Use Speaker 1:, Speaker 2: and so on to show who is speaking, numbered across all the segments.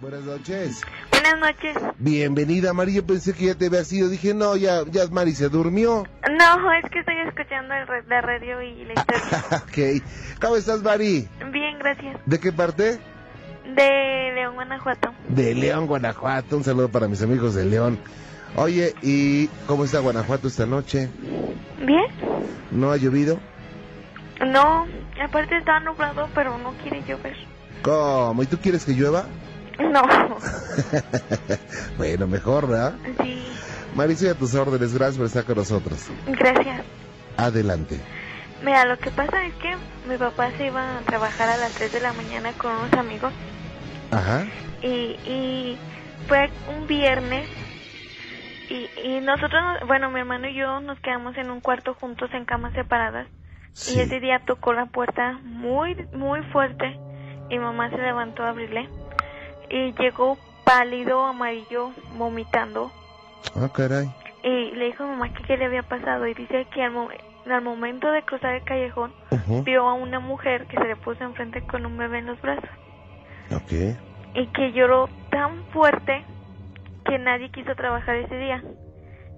Speaker 1: Buenas noches.
Speaker 2: Buenas noches.
Speaker 1: Bienvenida, Mari. Yo pensé que ya te había sido. Dije, no, ya, ya Mari se durmió.
Speaker 2: No, es que estoy escuchando el re- la radio y la historia.
Speaker 1: ok. ¿Cómo estás, Mari?
Speaker 2: Bien, gracias.
Speaker 1: ¿De qué parte?
Speaker 2: De León, Guanajuato.
Speaker 1: De León, Guanajuato. Un saludo para mis amigos de León. Oye, ¿y cómo está Guanajuato esta noche?
Speaker 2: ¿Bien?
Speaker 1: ¿No ha llovido?
Speaker 2: No, aparte está nublado, pero no quiere llover.
Speaker 1: ¿Cómo? ¿Y tú quieres que llueva?
Speaker 2: No.
Speaker 1: bueno, mejor, ¿verdad?
Speaker 2: Sí,
Speaker 1: Mari, soy a tus órdenes. Gracias por estar con nosotros.
Speaker 2: gracias.
Speaker 1: Adelante.
Speaker 2: Mira, lo que pasa es que mi papá se iba a trabajar a las 3 de la mañana con unos amigos
Speaker 1: Ajá.
Speaker 2: y, y fue un viernes y, y nosotros, nos- bueno, mi hermano y yo nos quedamos en un cuarto juntos en camas separadas
Speaker 1: Sí.
Speaker 2: y ese día tocó la puerta muy, muy fuerte y mamá se levantó a abrirle y llegó pálido, amarillo, vomitando
Speaker 1: Ah, caray.
Speaker 2: y le dijo a mamá que qué le había pasado y dice que al, mo- al momento de cruzar el callejón
Speaker 1: Ujú.
Speaker 2: vio a una mujer que se le puso enfrente con un bebé en los brazos
Speaker 1: Ok.
Speaker 2: y que lloró tan fuerte que nadie quiso trabajar ese día.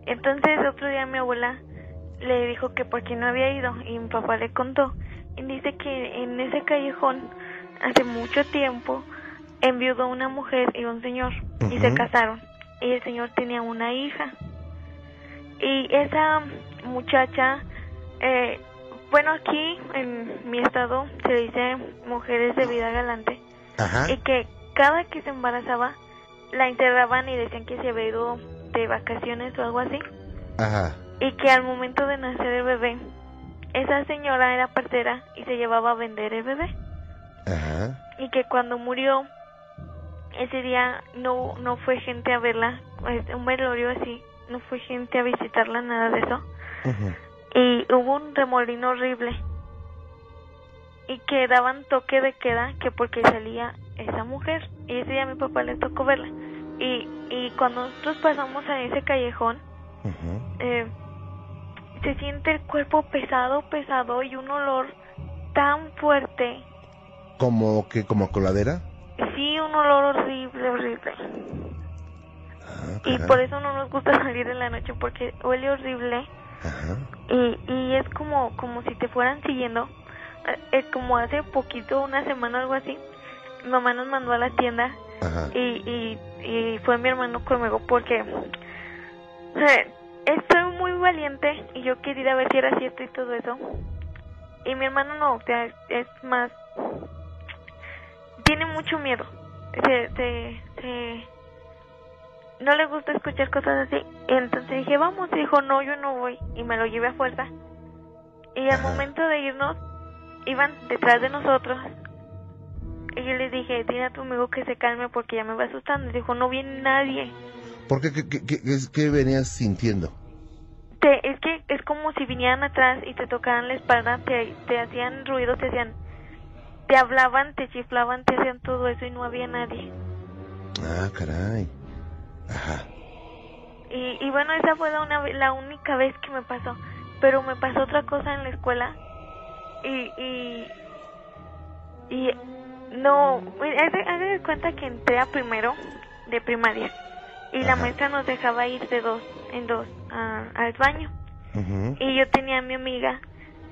Speaker 2: Entonces otro día mi abuela le dijo que por qué no había ido y mi papá le contó y dice que en ese callejón hace mucho tiempo enviudó una mujer y un señor y se
Speaker 1: Ujú.
Speaker 2: casaron y el señor tenía una hija y esa muchacha eh, bueno aquí en mi estado se dice mujeres de vida galante
Speaker 1: Ajá.
Speaker 2: y que cada que se embarazaba la encerraban y decían que se había ido de vacaciones o algo así
Speaker 1: Ajá.
Speaker 2: y que al momento de nacer el bebé esa señora era partera y se llevaba a vender el bebé
Speaker 1: Ajá.
Speaker 2: y que cuando murió ese día no no fue gente a verla pues, un velorio así no fue gente a visitarla nada de eso
Speaker 1: Ujú.
Speaker 2: y hubo un remolino horrible y que daban toque de queda que porque salía esa mujer y ese día a mi papá le tocó verla y, y cuando nosotros pasamos a ese callejón
Speaker 1: Ujú.
Speaker 2: eh, se siente el cuerpo pesado pesado y un olor tan fuerte
Speaker 1: ¿Como que como coladera?
Speaker 2: sí un olor horrible horrible
Speaker 1: Ah,
Speaker 2: y
Speaker 1: caray.
Speaker 2: por eso no nos gusta salir en la noche porque huele horrible
Speaker 1: Ajá.
Speaker 2: y, y es como como si te fueran siguiendo Eh, eh, como hace poquito una semana algo así mi mamá nos mandó a la tienda
Speaker 1: Ajá.
Speaker 2: y, y, y fue mi hermano conmigo porque eh, estoy muy valiente y yo quería ir a ver si era cierto y todo eso y mi hermano no o sea es, es más tiene mucho miedo se, se, se no le gusta escuchar cosas así. Entonces dije, vamos, y dijo, no, yo no voy. Y me lo llevé a fuerza. Y al
Speaker 1: Ajá.
Speaker 2: momento de irnos, iban detrás de nosotros. Y yo les dije, dile a tu amigo que se calme porque ya me va asustando. Y dijo, no viene nadie.
Speaker 1: ¿Por qué? ¿Qué, qué- qué- qué es- qué venías sintiendo?
Speaker 2: Te- es que es como si vinieran atrás y te tocaran la espalda, te, te hacían ruido, te hacían... Te hablaban, te chiflaban, te hacían todo eso y no había nadie.
Speaker 1: Ah, caray. Ajá.
Speaker 2: Y, y bueno, esa fue la, una, ve- la única vez que me pasó. Pero me pasó otra cosa en la escuela. Y. Y. y no. mira, Haz de haz de cuenta que entré a primero de primaria. Y la
Speaker 1: Ajá.
Speaker 2: maestra nos dejaba ir de dos en dos a- al baño.
Speaker 1: Ujú.
Speaker 2: Y yo tenía a mi amiga.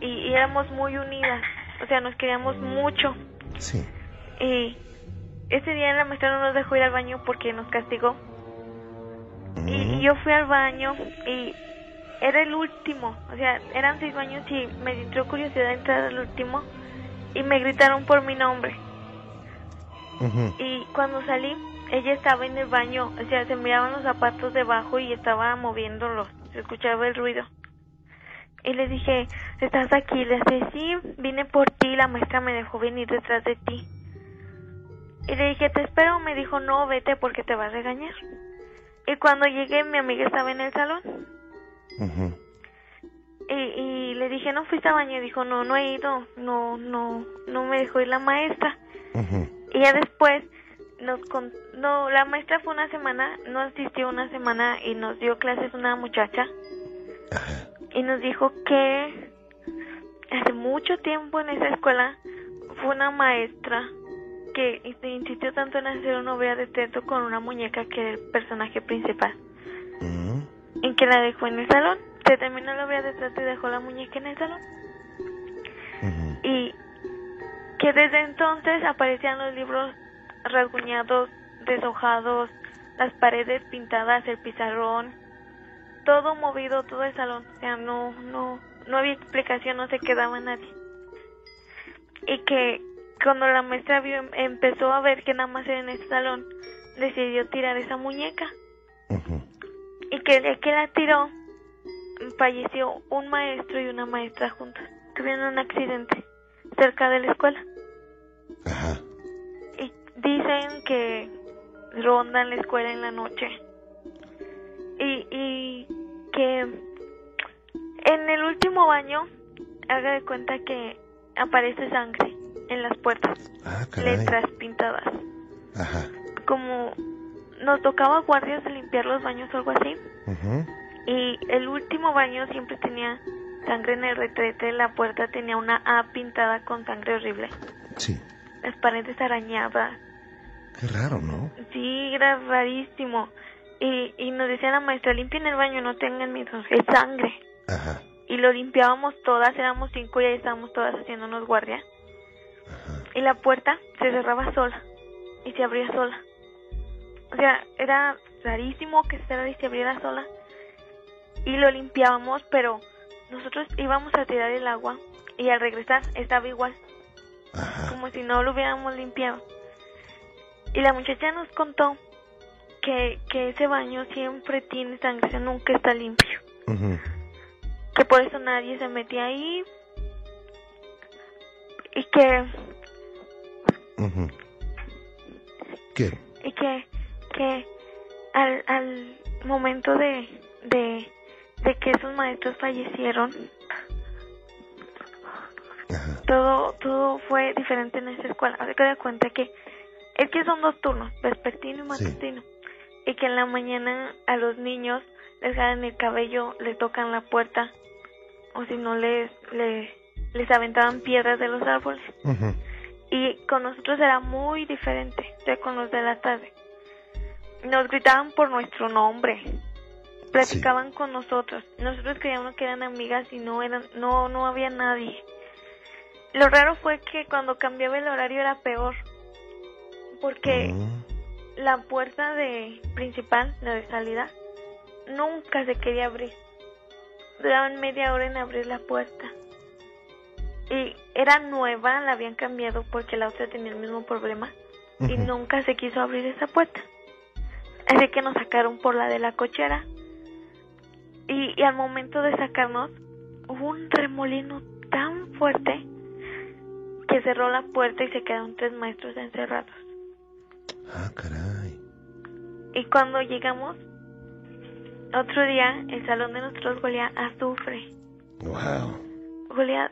Speaker 2: Y, y éramos muy unidas. O sea, nos queríamos mucho.
Speaker 1: Sí.
Speaker 2: Y. Ese día la maestra no nos dejó ir al baño porque nos castigó. Y, y yo fui al baño y era el último, o sea, eran seis baños y me entró curiosidad entrar al último y me gritaron por mi nombre.
Speaker 1: Ujú.
Speaker 2: Y cuando salí, ella estaba en el baño, o sea, se miraban los zapatos debajo y estaba moviéndolos, se escuchaba el ruido. Y le dije, ¿estás aquí? Le dije, sí, vine por ti, la maestra me dejó venir detrás de ti. Y le dije, te espero, me dijo, no, vete porque te va a regañar. Y cuando llegué, mi amiga estaba en el salón.
Speaker 1: Ujú.
Speaker 2: Y, y le dije, ¿no fuiste a baño? Y dijo, no, no he ido, no, no, no me dejó ir la maestra.
Speaker 1: Ujú.
Speaker 2: Y ya después, nos con- no, la maestra fue una semana, no asistió una semana y nos dio clases una muchacha.
Speaker 1: Ajá.
Speaker 2: Y nos dijo que hace mucho tiempo en esa escuela fue una maestra que este, insistió tanto en hacer una obra de teatro con una muñeca que era el personaje principal,
Speaker 1: Mm.
Speaker 2: en que la dejó en el salón. Se terminó la obra de teatro y dejó la muñeca en el salón.
Speaker 1: Ujú.
Speaker 2: Y que desde entonces aparecían los libros rasguñados, deshojados, las paredes pintadas, el pizarrón, todo movido, todo el salón. O sea, no, no, no había explicación, no se quedaba nadie. Y que cuando la maestra vio, empezó a ver que nada más era en ese salón, decidió tirar esa muñeca.
Speaker 1: Ujú.
Speaker 2: Y que el día que la tiró, falleció un maestro y una maestra juntos. Tuvieron un accidente cerca de la escuela.
Speaker 1: Ajá.
Speaker 2: Y dicen que rondan la escuela en la noche. Y, y que en el último baño, haga de cuenta que aparece sangre en las puertas,
Speaker 1: Ah, caray.
Speaker 2: letras pintadas.
Speaker 1: Ajá.
Speaker 2: Como nos tocaba guardias de limpiar los baños o algo así.
Speaker 1: Ujú.
Speaker 2: Y el último baño siempre tenía sangre en el retrete de la puerta, tenía una A pintada con sangre horrible.
Speaker 1: Sí.
Speaker 2: Las paredes arañadas.
Speaker 1: Qué raro, ¿no?
Speaker 2: Sí, era rarísimo. Y, y nos decía la maestra, limpien el baño, no tengan miedo, es sangre.
Speaker 1: Ajá.
Speaker 2: Y lo limpiábamos todas, éramos cinco y ahí estábamos todas haciéndonos guardia.
Speaker 1: Ajá.
Speaker 2: Y la puerta se cerraba sola y se abría sola. O sea, era rarísimo que se cerrara y se abriera sola. Y lo limpiábamos, pero nosotros íbamos a tirar el agua y al regresar estaba igual
Speaker 1: Ajá.
Speaker 2: como si no lo hubiéramos limpiado. Y la muchacha nos contó que, que ese baño siempre tiene sangre, o sea, nunca está limpio.
Speaker 1: Ujú.
Speaker 2: Que por eso nadie se metía ahí. Y que,
Speaker 1: Ujú. ¿Qué?
Speaker 2: y que, que al, al momento de, de, de que esos maestros fallecieron,
Speaker 1: Ajá.
Speaker 2: todo, todo fue diferente en esa escuela. Ahora que me doy cuenta que es que son dos turnos, vespertino y
Speaker 1: Sí.
Speaker 2: matutino. Y que en la mañana a los niños les jalan el cabello, les tocan la puerta, o si no les, les, les aventaban piedras de los árboles.
Speaker 1: Ujú.
Speaker 2: Y con nosotros era muy diferente de con los de la tarde. Nos gritaban por nuestro nombre, platicaban con nosotros. Nosotros creíamos que eran amigas y no eran, no, no había nadie. Lo raro fue que cuando cambiaba el horario era peor, porque
Speaker 1: Mm.
Speaker 2: la puerta de principal, la de salida, nunca se quería abrir. Duraban media hora en abrir la puerta. Y era nueva, la habían cambiado porque la otra tenía el mismo problema. Y
Speaker 1: Ujú.
Speaker 2: nunca se quiso abrir esa puerta. Así que nos sacaron por la de la cochera. Y, y al momento de sacarnos, hubo un remolino tan fuerte que cerró la puerta y se quedaron tres maestros encerrados.
Speaker 1: Ah, caray.
Speaker 2: Y cuando llegamos, otro día el salón de nosotros golea azufre.
Speaker 1: Wow.
Speaker 2: Golea,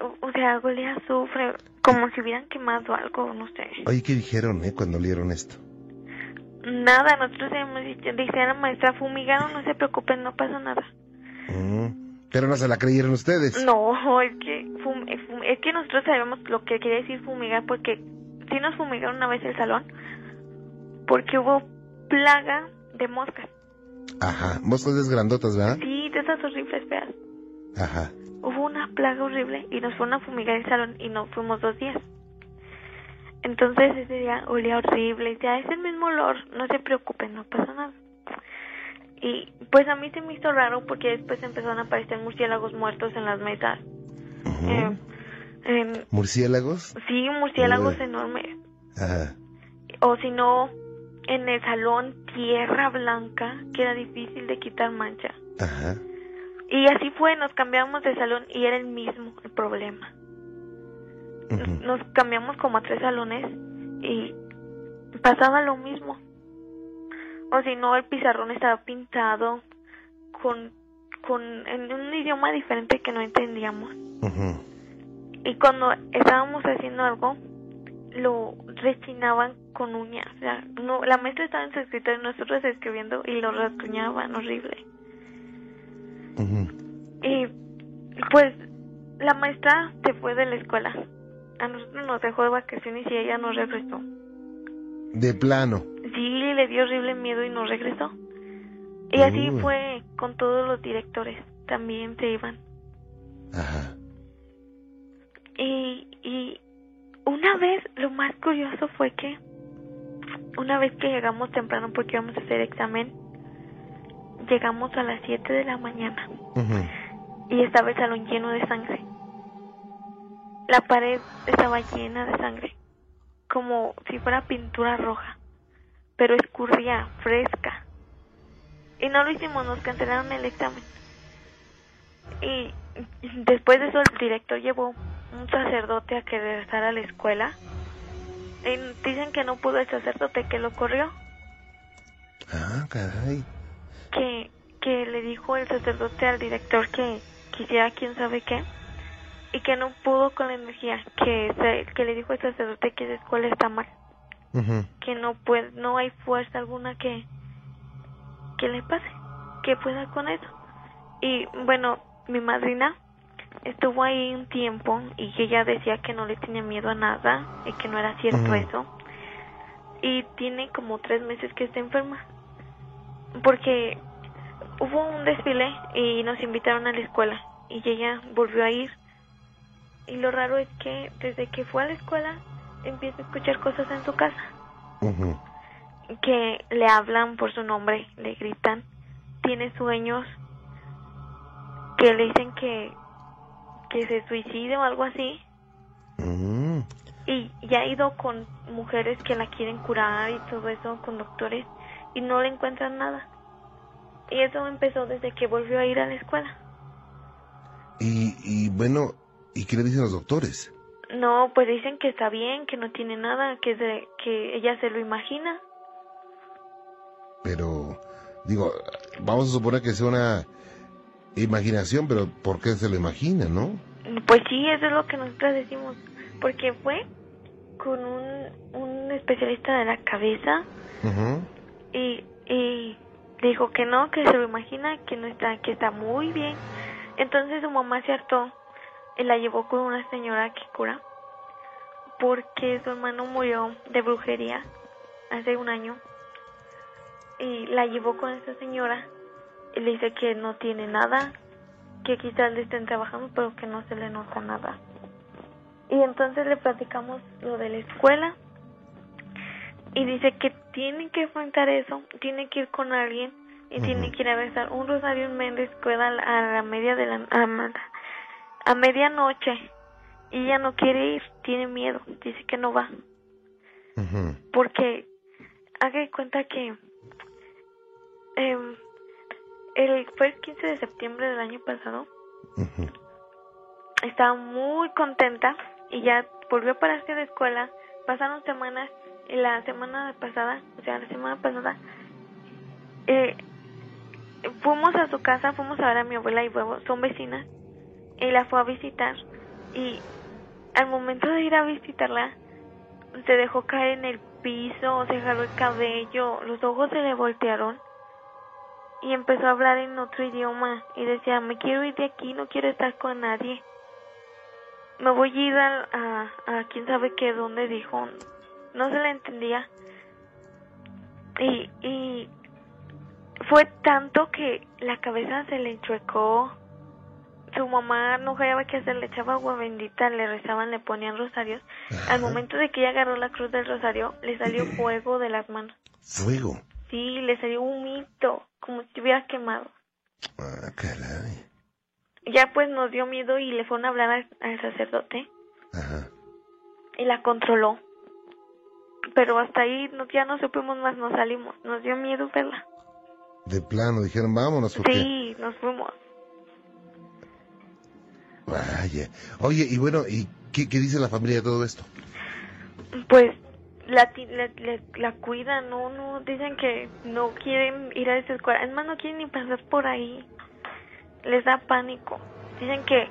Speaker 2: o o sea, golea azufre, como si hubieran quemado algo, no sé.
Speaker 1: Oye, ¿qué dijeron, eh, cuando leyeron esto?
Speaker 2: Nada, nosotros hemos dicho, dice la maestra, fumigaron, no se preocupen, no pasa nada.
Speaker 1: Mm. Pero no se la creyeron ustedes.
Speaker 2: No, es que, fum- eh, fum- es que nosotros sabemos lo que quería decir fumigar, porque sí nos fumigaron una vez el salón, porque hubo plaga de moscas. Mm.
Speaker 1: Ajá. Moscas desgrandotas, ¿verdad?
Speaker 2: Sí, de esas horribles, feas.
Speaker 1: Ajá.
Speaker 2: hubo una plaga horrible y nos fueron a fumigar el salón y no fuimos dos días. Entonces ese día olía horrible, ya es el mismo olor, no se preocupen, no pasa nada. Y pues a mí se me hizo raro porque después empezaron a aparecer murciélagos muertos en las mesas.
Speaker 1: Ujú.
Speaker 2: Eh, em,
Speaker 1: ¿Murciélagos?
Speaker 2: sí, murciélagos
Speaker 1: Uy.
Speaker 2: enormes.
Speaker 1: Ajá.
Speaker 2: O si no, en el salón tierra blanca que era difícil de quitar mancha.
Speaker 1: Ajá.
Speaker 2: Y así fue, nos cambiamos de salón y era el mismo el problema. nos,
Speaker 1: Ujú.
Speaker 2: nos cambiamos como a tres salones y pasaba lo mismo. O si no, el pizarrón estaba pintado con, con, en un idioma diferente que no entendíamos.
Speaker 1: Ujú.
Speaker 2: Y cuando estábamos haciendo algo, lo rechinaban con uñas. O sea, no, la maestra estaba en su escritorio y nosotros escribiendo y lo rasguñaban horrible.
Speaker 1: Ujú.
Speaker 2: Y pues la maestra se fue de la escuela a nosotros nos dejó de vacaciones y ella nos regresó.
Speaker 1: De plano.
Speaker 2: Sí, le dio horrible miedo y nos regresó. Y así
Speaker 1: Uy.
Speaker 2: fue con todos los directores, también se iban.
Speaker 1: Ajá.
Speaker 2: Y, y una vez, lo más curioso fue que una vez que llegamos temprano porque íbamos a hacer examen, llegamos a las 7 de la mañana
Speaker 1: Ujú.
Speaker 2: y estaba el salón lleno de sangre. La pared estaba llena de sangre, como si fuera pintura roja, pero escurría, fresca. Y no lo hicimos, nos cancelaron el examen. Y y después de eso el director llevó un sacerdote a que regresara a la escuela. Y dicen que no pudo el sacerdote, que lo corrió,
Speaker 1: Ah, caray.
Speaker 2: que, que le dijo el sacerdote al director que quisiera quién sabe qué y que no pudo con la energía, que, se- que le dijo el sacerdote que la escuela está mal,
Speaker 1: Ujú.
Speaker 2: que no puede, no hay fuerza alguna que, que le pase, que pueda con eso. Y bueno, mi madrina estuvo ahí un tiempo y que ella decía que no le tenía miedo a nada y que no era cierto
Speaker 1: Ujú.
Speaker 2: eso. Y tiene como tres meses que está enferma. Porque hubo un desfile y nos invitaron a la escuela y ella volvió a ir. Y lo raro es que desde que fue a la escuela empieza a escuchar cosas en su casa
Speaker 1: Ujú.
Speaker 2: que le hablan por su nombre, le gritan, tiene sueños, que le dicen que, que se suicide o algo así,
Speaker 1: Mm.
Speaker 2: y ya ha ido con mujeres que la quieren curar y todo eso, con doctores, y no le encuentran nada. Y eso empezó desde que volvió a ir a la escuela.
Speaker 1: Y, y bueno, ¿y qué le dicen los doctores?
Speaker 2: No, pues dicen que está bien, que no tiene nada, que, se- que ella se lo imagina.
Speaker 1: Pero, digo, vamos a suponer que sea una imaginación, pero ¿por qué se lo imagina, no?
Speaker 2: Pues sí, eso es lo que nosotros decimos, porque fue con un, un especialista de la cabeza
Speaker 1: Ujú.
Speaker 2: y, y dijo que no, que se lo imagina, que no está, que está muy bien. Entonces su mamá se hartó y la llevó con una señora que cura, porque su hermano murió de brujería hace un año y la llevó con esa señora y le dice que no tiene nada, que quizás le estén trabajando pero que no se le nota nada. Y entonces le platicamos lo de la escuela y dice que tiene que enfrentar eso, tiene que ir con alguien y tiene
Speaker 1: Ujú.
Speaker 2: que ir a rezar un rosario en media escuela a la- a la media de la a, ma- a medianoche y ella no quiere ir, tiene miedo, dice que no va
Speaker 1: Ujú.
Speaker 2: porque haga de cuenta que em, el fue el 15 de septiembre del año pasado
Speaker 1: Ujú.
Speaker 2: estaba muy contenta y ya volvió a pararse de escuela pasaron semanas y la semana pasada o sea la semana pasada eh, fuimos a su casa fuimos a ver a mi abuela y huevo son vecinas y la fue a visitar y al momento de ir a visitarla se dejó caer en el piso, se jaló el cabello, los ojos se le voltearon y empezó a hablar en otro idioma y decía, me quiero ir de aquí, no quiero estar con nadie. Me voy a ir al- a, a, quién sabe qué, dónde dijo. No se la entendía. Y, y fue tanto que la cabeza se le enchuecó. Su mamá no hallaba qué hacer, le echaba agua bendita, le rezaban, le ponían rosarios.
Speaker 1: Ajá.
Speaker 2: Al momento de que ella agarró la cruz del rosario, le salió fuego de las manos.
Speaker 1: Fuego.
Speaker 2: Sí, le salió un mito, como si hubiera quemado.
Speaker 1: Ah, caray.
Speaker 2: Ya pues nos dio miedo y le fueron a hablar al, al sacerdote
Speaker 1: Ajá.
Speaker 2: y la controló. Pero hasta ahí no- ya no supimos más, nos salimos. Nos dio miedo verla.
Speaker 1: De plano, dijeron, vámonos, porque...
Speaker 2: Sí, nos fuimos.
Speaker 1: Vaya. Oye, y bueno, ¿y qué, qué dice la familia de todo esto?
Speaker 2: Pues la, ti- la, la, la cuidan, no, no, dicen que no quieren ir a esa escuela. Es más, no quieren ni pasar por ahí. Les da pánico. Dicen que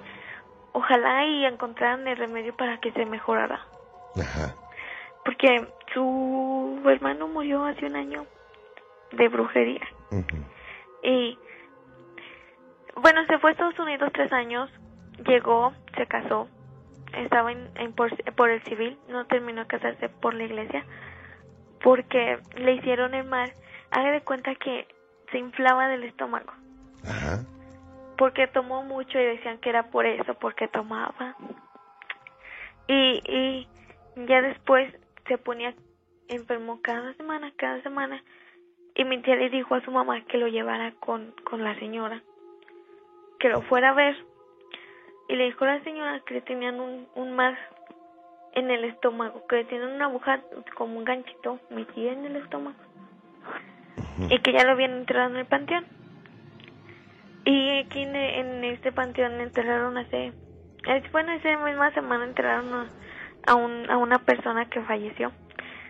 Speaker 2: ojalá y encontraran el remedio para que se mejorara.
Speaker 1: Ajá.
Speaker 2: Porque su hermano murió hace un año de brujería.
Speaker 1: Ujú.
Speaker 2: Y bueno, se fue a Estados Unidos tres años, llegó, se casó, estaba en, en por, por el civil, no terminó de casarse por la iglesia, porque le hicieron el mal. Haga de cuenta que se inflaba del estómago,
Speaker 1: Ajá.
Speaker 2: porque tomó mucho y decían que era por eso, porque tomaba. Y, y ya después se ponía enfermo cada semana, cada semana. Y mi tía le dijo a su mamá que lo llevara con, con la señora, que lo fuera a ver. Y le dijo a la señora que le tenían un, un mar en el estómago, que le tenían una aguja como un ganchito metida en el estómago. Y que ya lo habían enterrado en el panteón. Y aquí en, en este panteón enterraron hace... es- Bueno, esa misma semana enterraron a, a un, a una persona que falleció.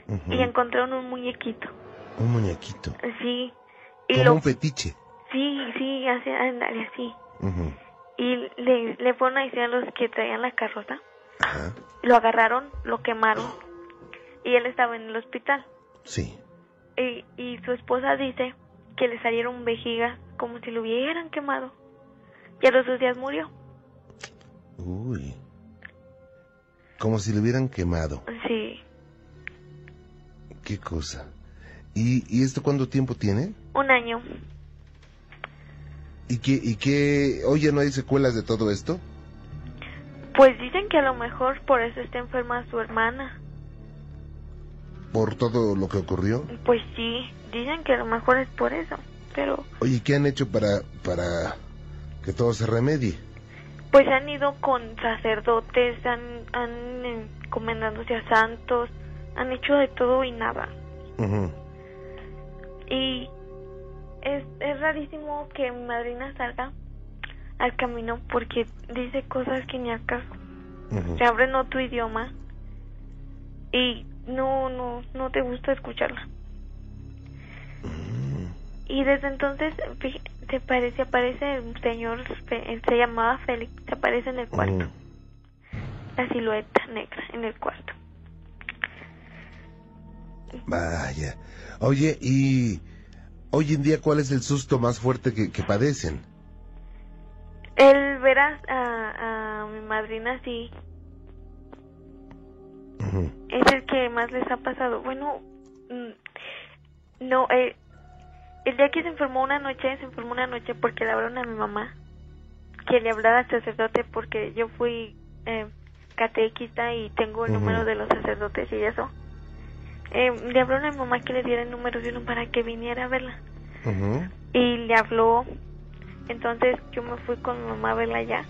Speaker 1: Ujú.
Speaker 2: Y encontraron un muñequito.
Speaker 1: Un muñequito.
Speaker 2: Sí. Y
Speaker 1: Como
Speaker 2: lo,
Speaker 1: un fetiche.
Speaker 2: sí, sí, así, ándale, así.
Speaker 1: Ujú.
Speaker 2: Y le, le fueron a decir a los que traían la carroza,
Speaker 1: Ajá.
Speaker 2: lo agarraron, lo quemaron y él estaba en el hospital.
Speaker 1: Sí.
Speaker 2: Y, y su esposa dice que le salieron vejigas como si lo hubieran quemado. Y a los dos días murió.
Speaker 1: Uy. Como si lo hubieran quemado.
Speaker 2: Sí,
Speaker 1: Qué cosa. ¿Y, y esto cuánto tiempo tiene?
Speaker 2: un año.
Speaker 1: ¿Y qué, ¿Y qué? Oye, ¿no hay secuelas de todo esto?
Speaker 2: Pues dicen que a lo mejor por eso está enferma su hermana.
Speaker 1: ¿Por todo lo que ocurrió?
Speaker 2: Pues sí, dicen que a lo mejor es por eso. Pero
Speaker 1: Oye, ¿qué han hecho para, para que todo se remedie?
Speaker 2: Pues han ido con sacerdotes, han, han encomendándose a santos, han hecho de todo y nada.
Speaker 1: Ujú.
Speaker 2: Y es, es rarísimo que mi madrina salga al camino porque dice cosas que ni al caso.
Speaker 1: Ujú.
Speaker 2: Se abre en otro idioma y no, no, no te gusta escucharla. Y desde entonces fí- se parece, aparece el señor, Fe- se llamaba Félix, se aparece en el cuarto.
Speaker 1: Ujú.
Speaker 2: la silueta negra en el cuarto.
Speaker 1: Vaya. Oye, ¿y hoy en día cuál es el susto más fuerte que, que padecen?
Speaker 2: El ver a, a- a mi madrina así
Speaker 1: Ujú.
Speaker 2: es el que más les ha pasado. Bueno, mm, no, eh, el día que se enfermó una noche, se enfermó una noche porque le hablaron a mi mamá que le hablara al sacerdote porque yo fui eh, catequista y tengo el
Speaker 1: Ujú.
Speaker 2: número de los sacerdotes y eso. Eh, le hablaron a mi mamá que le diera el número de uno para que viniera a verla.
Speaker 1: Ujú.
Speaker 2: y le habló. Entonces yo me fui con mi mamá a verla ya.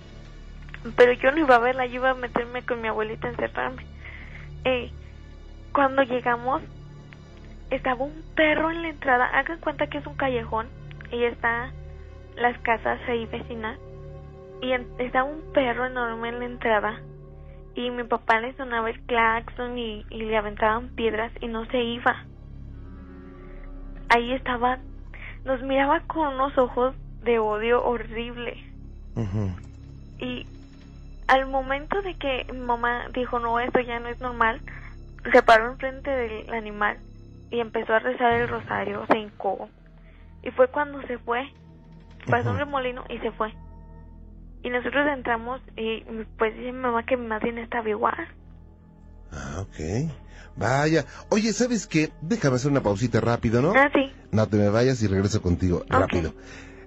Speaker 2: Pero yo no iba a verla, yo iba a meterme con mi abuelita a encerrarme. Eh, cuando llegamos, estaba un perro en la entrada. Hagan cuenta que es un callejón y está las casas ahí vecinas. Y en- estaba un perro enorme en la entrada. Y mi papá le sonaba el claxon y, y le aventaban piedras y no se iba. Ahí estaba nos miraba con unos ojos de odio horrible.
Speaker 1: Ujú.
Speaker 2: Y al momento de que mi mamá dijo, no, esto ya no es normal, se paró enfrente del animal y empezó a rezar el rosario, se hincó. Y fue cuando se fue, pasó un
Speaker 1: Ujú.
Speaker 2: remolino y se fue. Y nosotros entramos y pues dice mi mamá que mi madre estaba igual.
Speaker 1: Ah, ok. Vaya. Oye, ¿sabes qué? Déjame hacer una pausita rápido, ¿no?
Speaker 2: Ah, sí.
Speaker 1: No te me vayas y regreso contigo rápido.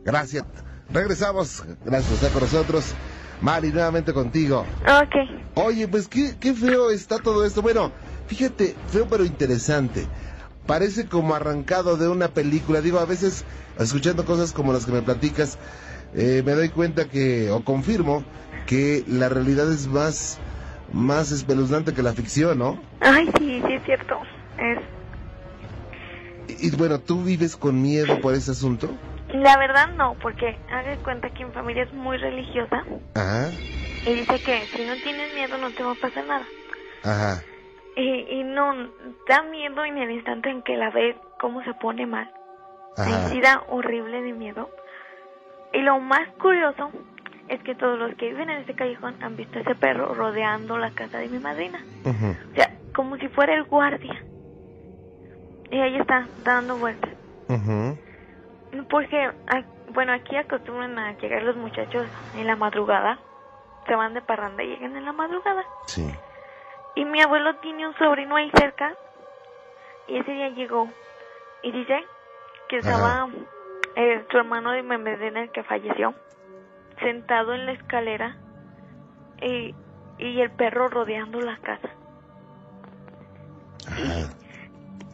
Speaker 1: Gracias. Regresamos. Gracias por estar con nosotros. Mari, nuevamente contigo.
Speaker 2: Ok.
Speaker 1: Oye, pues qué, qué feo está todo esto. Bueno, fíjate, feo pero interesante. Parece como arrancado de una película. Digo, a veces, escuchando cosas como las que me platicas, eh, me doy cuenta que, o confirmo, que la realidad es más, más espeluznante que la ficción, ¿no?
Speaker 2: Ay, sí, sí es cierto. Es
Speaker 1: Y, y bueno, ¿tú vives con miedo por ese asunto?
Speaker 2: la verdad no, porque haga de cuenta que mi familia es muy religiosa.
Speaker 1: Ajá,
Speaker 2: Y dice que si no tienes miedo no te va a pasar nada.
Speaker 1: ajá.
Speaker 2: Y, y no, da miedo en el instante en que la ves cómo se pone mal.
Speaker 1: Ajá.
Speaker 2: Ahí sí da horrible de miedo. Y lo más curioso es que todos los que viven en ese callejón han visto ese perro rodeando la casa de mi madrina.
Speaker 1: Ujú.
Speaker 2: O sea, como si fuera el guardia. Y ahí está, dando vueltas.
Speaker 1: Ujú.
Speaker 2: Porque, ah, bueno, aquí acostumbran a llegar los muchachos en la madrugada se van de parranda y llegan en la madrugada.
Speaker 1: Sí.
Speaker 2: Y mi abuelo tiene un sobrino ahí cerca y ese día llegó y dice que
Speaker 1: Ajá.
Speaker 2: estaba eh, su hermano de Memedena, el que falleció, sentado en la escalera y, y el perro rodeando la casa.
Speaker 1: Ajá.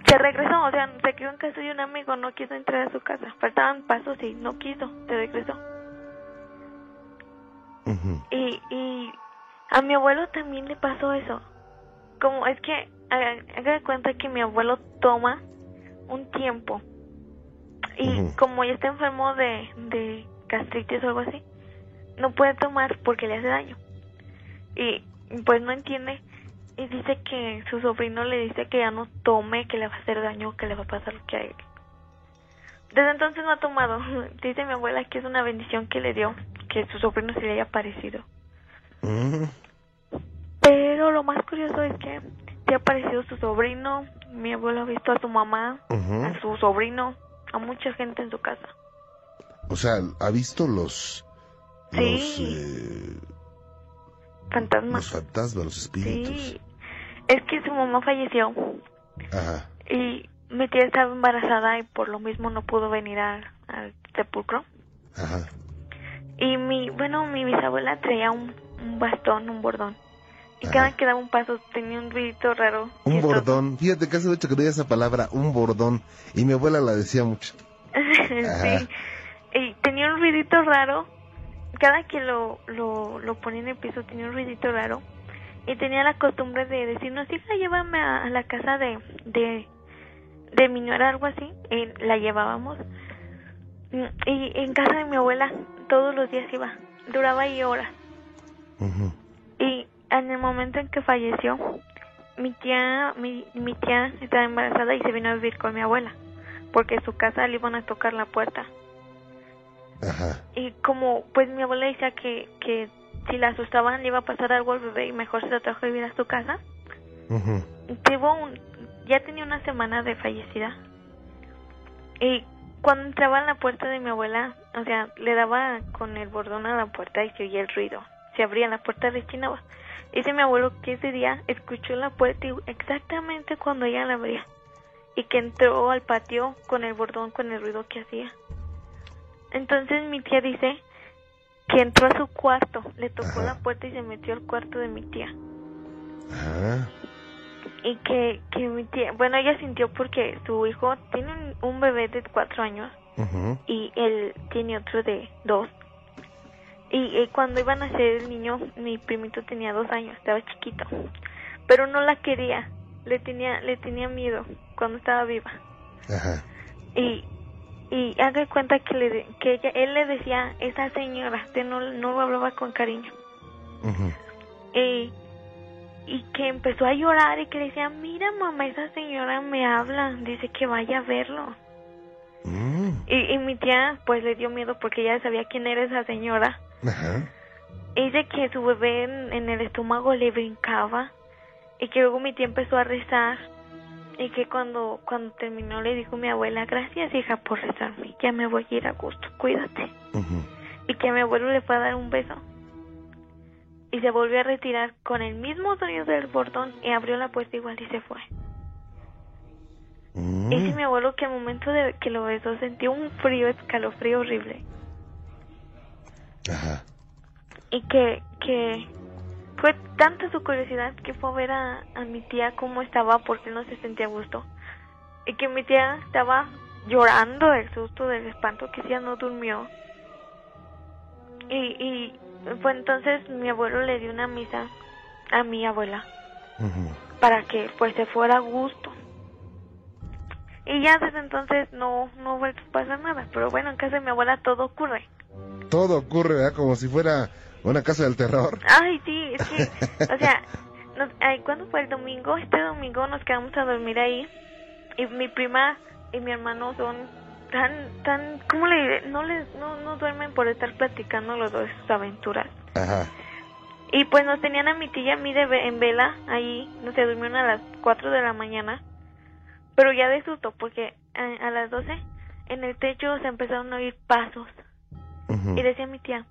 Speaker 2: Se regresó, o sea, se quedó en casa de un amigo, no quiso entrar a su casa. Faltaban pasos y no quiso, se regresó.
Speaker 1: Ujú.
Speaker 2: Y, y a mi abuelo también le pasó eso. Como es que haga haga de cuenta que mi abuelo toma un tiempo. Y
Speaker 1: Ujú.
Speaker 2: como ya está enfermo de, de gastritis o algo así, no puede tomar porque le hace daño. Y pues no entiende. Y dice que su sobrino le dice que ya no tome, que le va a hacer daño, que le va a pasar lo que a él. Desde entonces no ha tomado. Dice mi abuela que es una bendición que le dio que su sobrino se le haya parecido.
Speaker 1: Ujú.
Speaker 2: Pero lo más curioso es que se ha parecido su sobrino, mi abuelo ha visto a su mamá,
Speaker 1: Ujú.
Speaker 2: a su sobrino, a mucha gente en su casa.
Speaker 1: O sea, ha visto los. Los,
Speaker 2: Sí.
Speaker 1: eh,
Speaker 2: Fantasma.
Speaker 1: los fantasmas, los espíritus.
Speaker 2: Sí. Es que su mamá falleció
Speaker 1: Ajá.
Speaker 2: y mi tía estaba embarazada y por lo mismo no pudo venir al, al sepulcro.
Speaker 1: Ajá.
Speaker 2: Y mi, bueno, mi bisabuela traía un, un bastón, un bordón. Y
Speaker 1: Ajá.
Speaker 2: cada que daba un paso tenía un ruidito raro.
Speaker 1: Un
Speaker 2: chistoso.
Speaker 1: bordón. Fíjate que hace mucho que no oía esa palabra, un bordón. Y mi abuela la decía mucho. Ajá.
Speaker 2: sí. Y tenía un ruidito raro. Cada que lo, lo, lo ponía en el piso tenía un ruidito raro. Y tenía la costumbre de decirnos, hija, llévame a, a la casa de, de, de mi nuera, algo así. Y la llevábamos. Mm, Y en casa de mi abuela todos los días iba. Duraba ahí horas.
Speaker 1: Ujú.
Speaker 2: Y en el momento en que falleció, mi tía, mi, mi tía estaba embarazada y se vino a vivir con mi abuela. Porque en su casa le iban a tocar la puerta.
Speaker 1: Ajá.
Speaker 2: Y como pues mi abuela decía que, que si la asustaban le iba a pasar algo al bebé y mejor se la trajo a vivir a su casa,
Speaker 1: Ujú.
Speaker 2: tuvo un, ya tenía una semana de fallecida. Y cuando entraba a la puerta de mi abuela, o sea, le daba con el bordón a la puerta y se oía el ruido. Se abría la puerta, rechinaba. Dice mi abuelo que ese día escuchó la puerta y exactamente cuando ella la abría. Y que entró al patio con el bordón, con el ruido que hacía. Entonces mi tía dice que entró a su cuarto, le tocó
Speaker 1: Ajá.
Speaker 2: la puerta y se metió al cuarto de mi tía
Speaker 1: Ajá.
Speaker 2: y que, que mi tía, bueno, ella sintió porque su hijo tiene un, un bebé de cuatro años
Speaker 1: Ujú.
Speaker 2: y él tiene otro de dos. Y, eh, cuando iban a nacer el niño, mi primito tenía dos años, estaba chiquito, pero no la quería, le tenía, le tenía miedo cuando estaba viva.
Speaker 1: Ajá.
Speaker 2: Y, y haga de cuenta que, le, de- que ella, él le decía, esa señora, que no, no lo hablaba con cariño.
Speaker 1: Ujú.
Speaker 2: Eh, y que empezó a llorar y que le decía, mira mamá, esa señora me habla, dice que vaya a verlo.
Speaker 1: Mm.
Speaker 2: Y, y mi tía pues le dio miedo porque ella sabía quién era esa señora.
Speaker 1: Ajá.
Speaker 2: Y dice que su bebé en, en el estómago le brincaba y que luego mi tía empezó a rezar y que cuando, cuando terminó le dijo mi abuela, gracias hija por rezarme, ya me voy a ir a gusto, cuídate.
Speaker 1: Ujú.
Speaker 2: y que a mi abuelo le fue a dar un beso. Y se volvió a retirar con el mismo sonido del bordón y abrió la puerta igual y se fue.
Speaker 1: Mm.
Speaker 2: Y Dice mi abuelo que al momento de que lo besó sintió un frío, escalofrío horrible.
Speaker 1: Ajá.
Speaker 2: Y que, que fue tanta su curiosidad que fue a ver a, a mi tía cómo estaba porque no se sentía a gusto. Y que mi tía estaba llorando del susto, del espanto, que ella no durmió. Y, y fue entonces mi abuelo le dio una misa a mi abuela
Speaker 1: Ujú.
Speaker 2: para que pues se fuera a gusto. Y ya desde entonces no, no ha vuelto a pasar nada. Pero bueno, en casa de mi abuela todo ocurre.
Speaker 1: Todo ocurre, ¿verdad? Como si fuera una casa del terror.
Speaker 2: Ay, sí, es que, o sea, nos, ay, ¿cuándo fue el domingo? Este domingo nos quedamos a dormir ahí y mi prima y mi hermano son tan, tan, ¿cómo le diré? No, les, no, no duermen por estar platicando los dos sus aventuras.
Speaker 1: Ajá.
Speaker 2: Y pues nos tenían a mi tía y a mí de ve- en vela ahí, no se durmieron a las 4 de la mañana, pero ya de susto, porque eh, a, a las 12 en el techo se empezaron a oír pasos
Speaker 1: Ujú.
Speaker 2: y decía mi tía,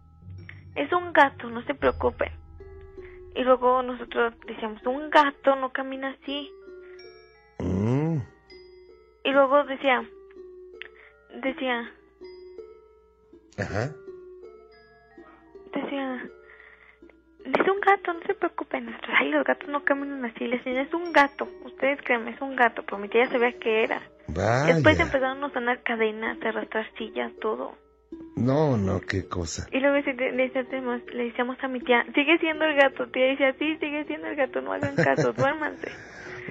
Speaker 2: es un gato, no se preocupen. Y luego nosotros decíamos, un gato no camina así.
Speaker 1: Mm.
Speaker 2: Y luego decía, decía,
Speaker 1: Ajá.
Speaker 2: decía, dice un gato, no se preocupen. Nosotros, ay, los gatos no caminan así. Le decía, es un gato. Ustedes créanme, es un gato. Pero mi tía ya sabía que era.
Speaker 1: Vaya.
Speaker 2: Después empezaron a sonar cadenas, a arrastrar sillas, todo.
Speaker 1: No, no, qué cosa.
Speaker 2: Y luego ese- le, le decíamos, le decíamos a mi tía, sigue siendo el gato. Tía decía, sí, sigue siendo el gato, no hagan caso, duérmanse.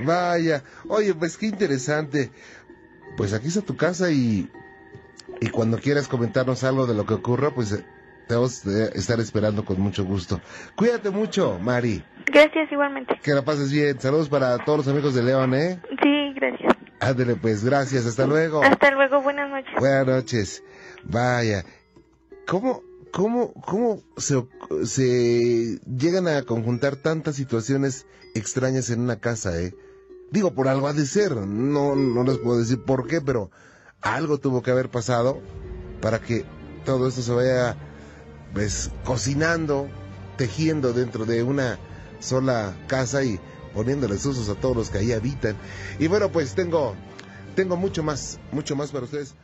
Speaker 1: Vaya. Oye, pues qué interesante. Pues aquí está tu casa y, y cuando quieras comentarnos algo de lo que ocurra, pues eh, te vamos a estar esperando con mucho gusto. Cuídate mucho, Mari.
Speaker 2: Gracias igualmente.
Speaker 1: Que la pases bien. Saludos para todos los amigos de León, ¿eh?
Speaker 2: Sí, gracias.
Speaker 1: Ándele, pues gracias. Hasta luego.
Speaker 2: Hasta luego, buenas noches.
Speaker 1: Buenas noches. Vaya. ¿Cómo, cómo, cómo se, oc- se llegan a conjuntar tantas situaciones extrañas en una casa, eh? Digo, por algo ha de ser. No, no les puedo decir por qué, pero algo tuvo que haber pasado para que todo esto se vaya, pues, cocinando, tejiendo dentro de una sola casa y poniéndoles usos a todos los que ahí habitan. Y bueno, pues tengo, tengo mucho más, mucho más para ustedes.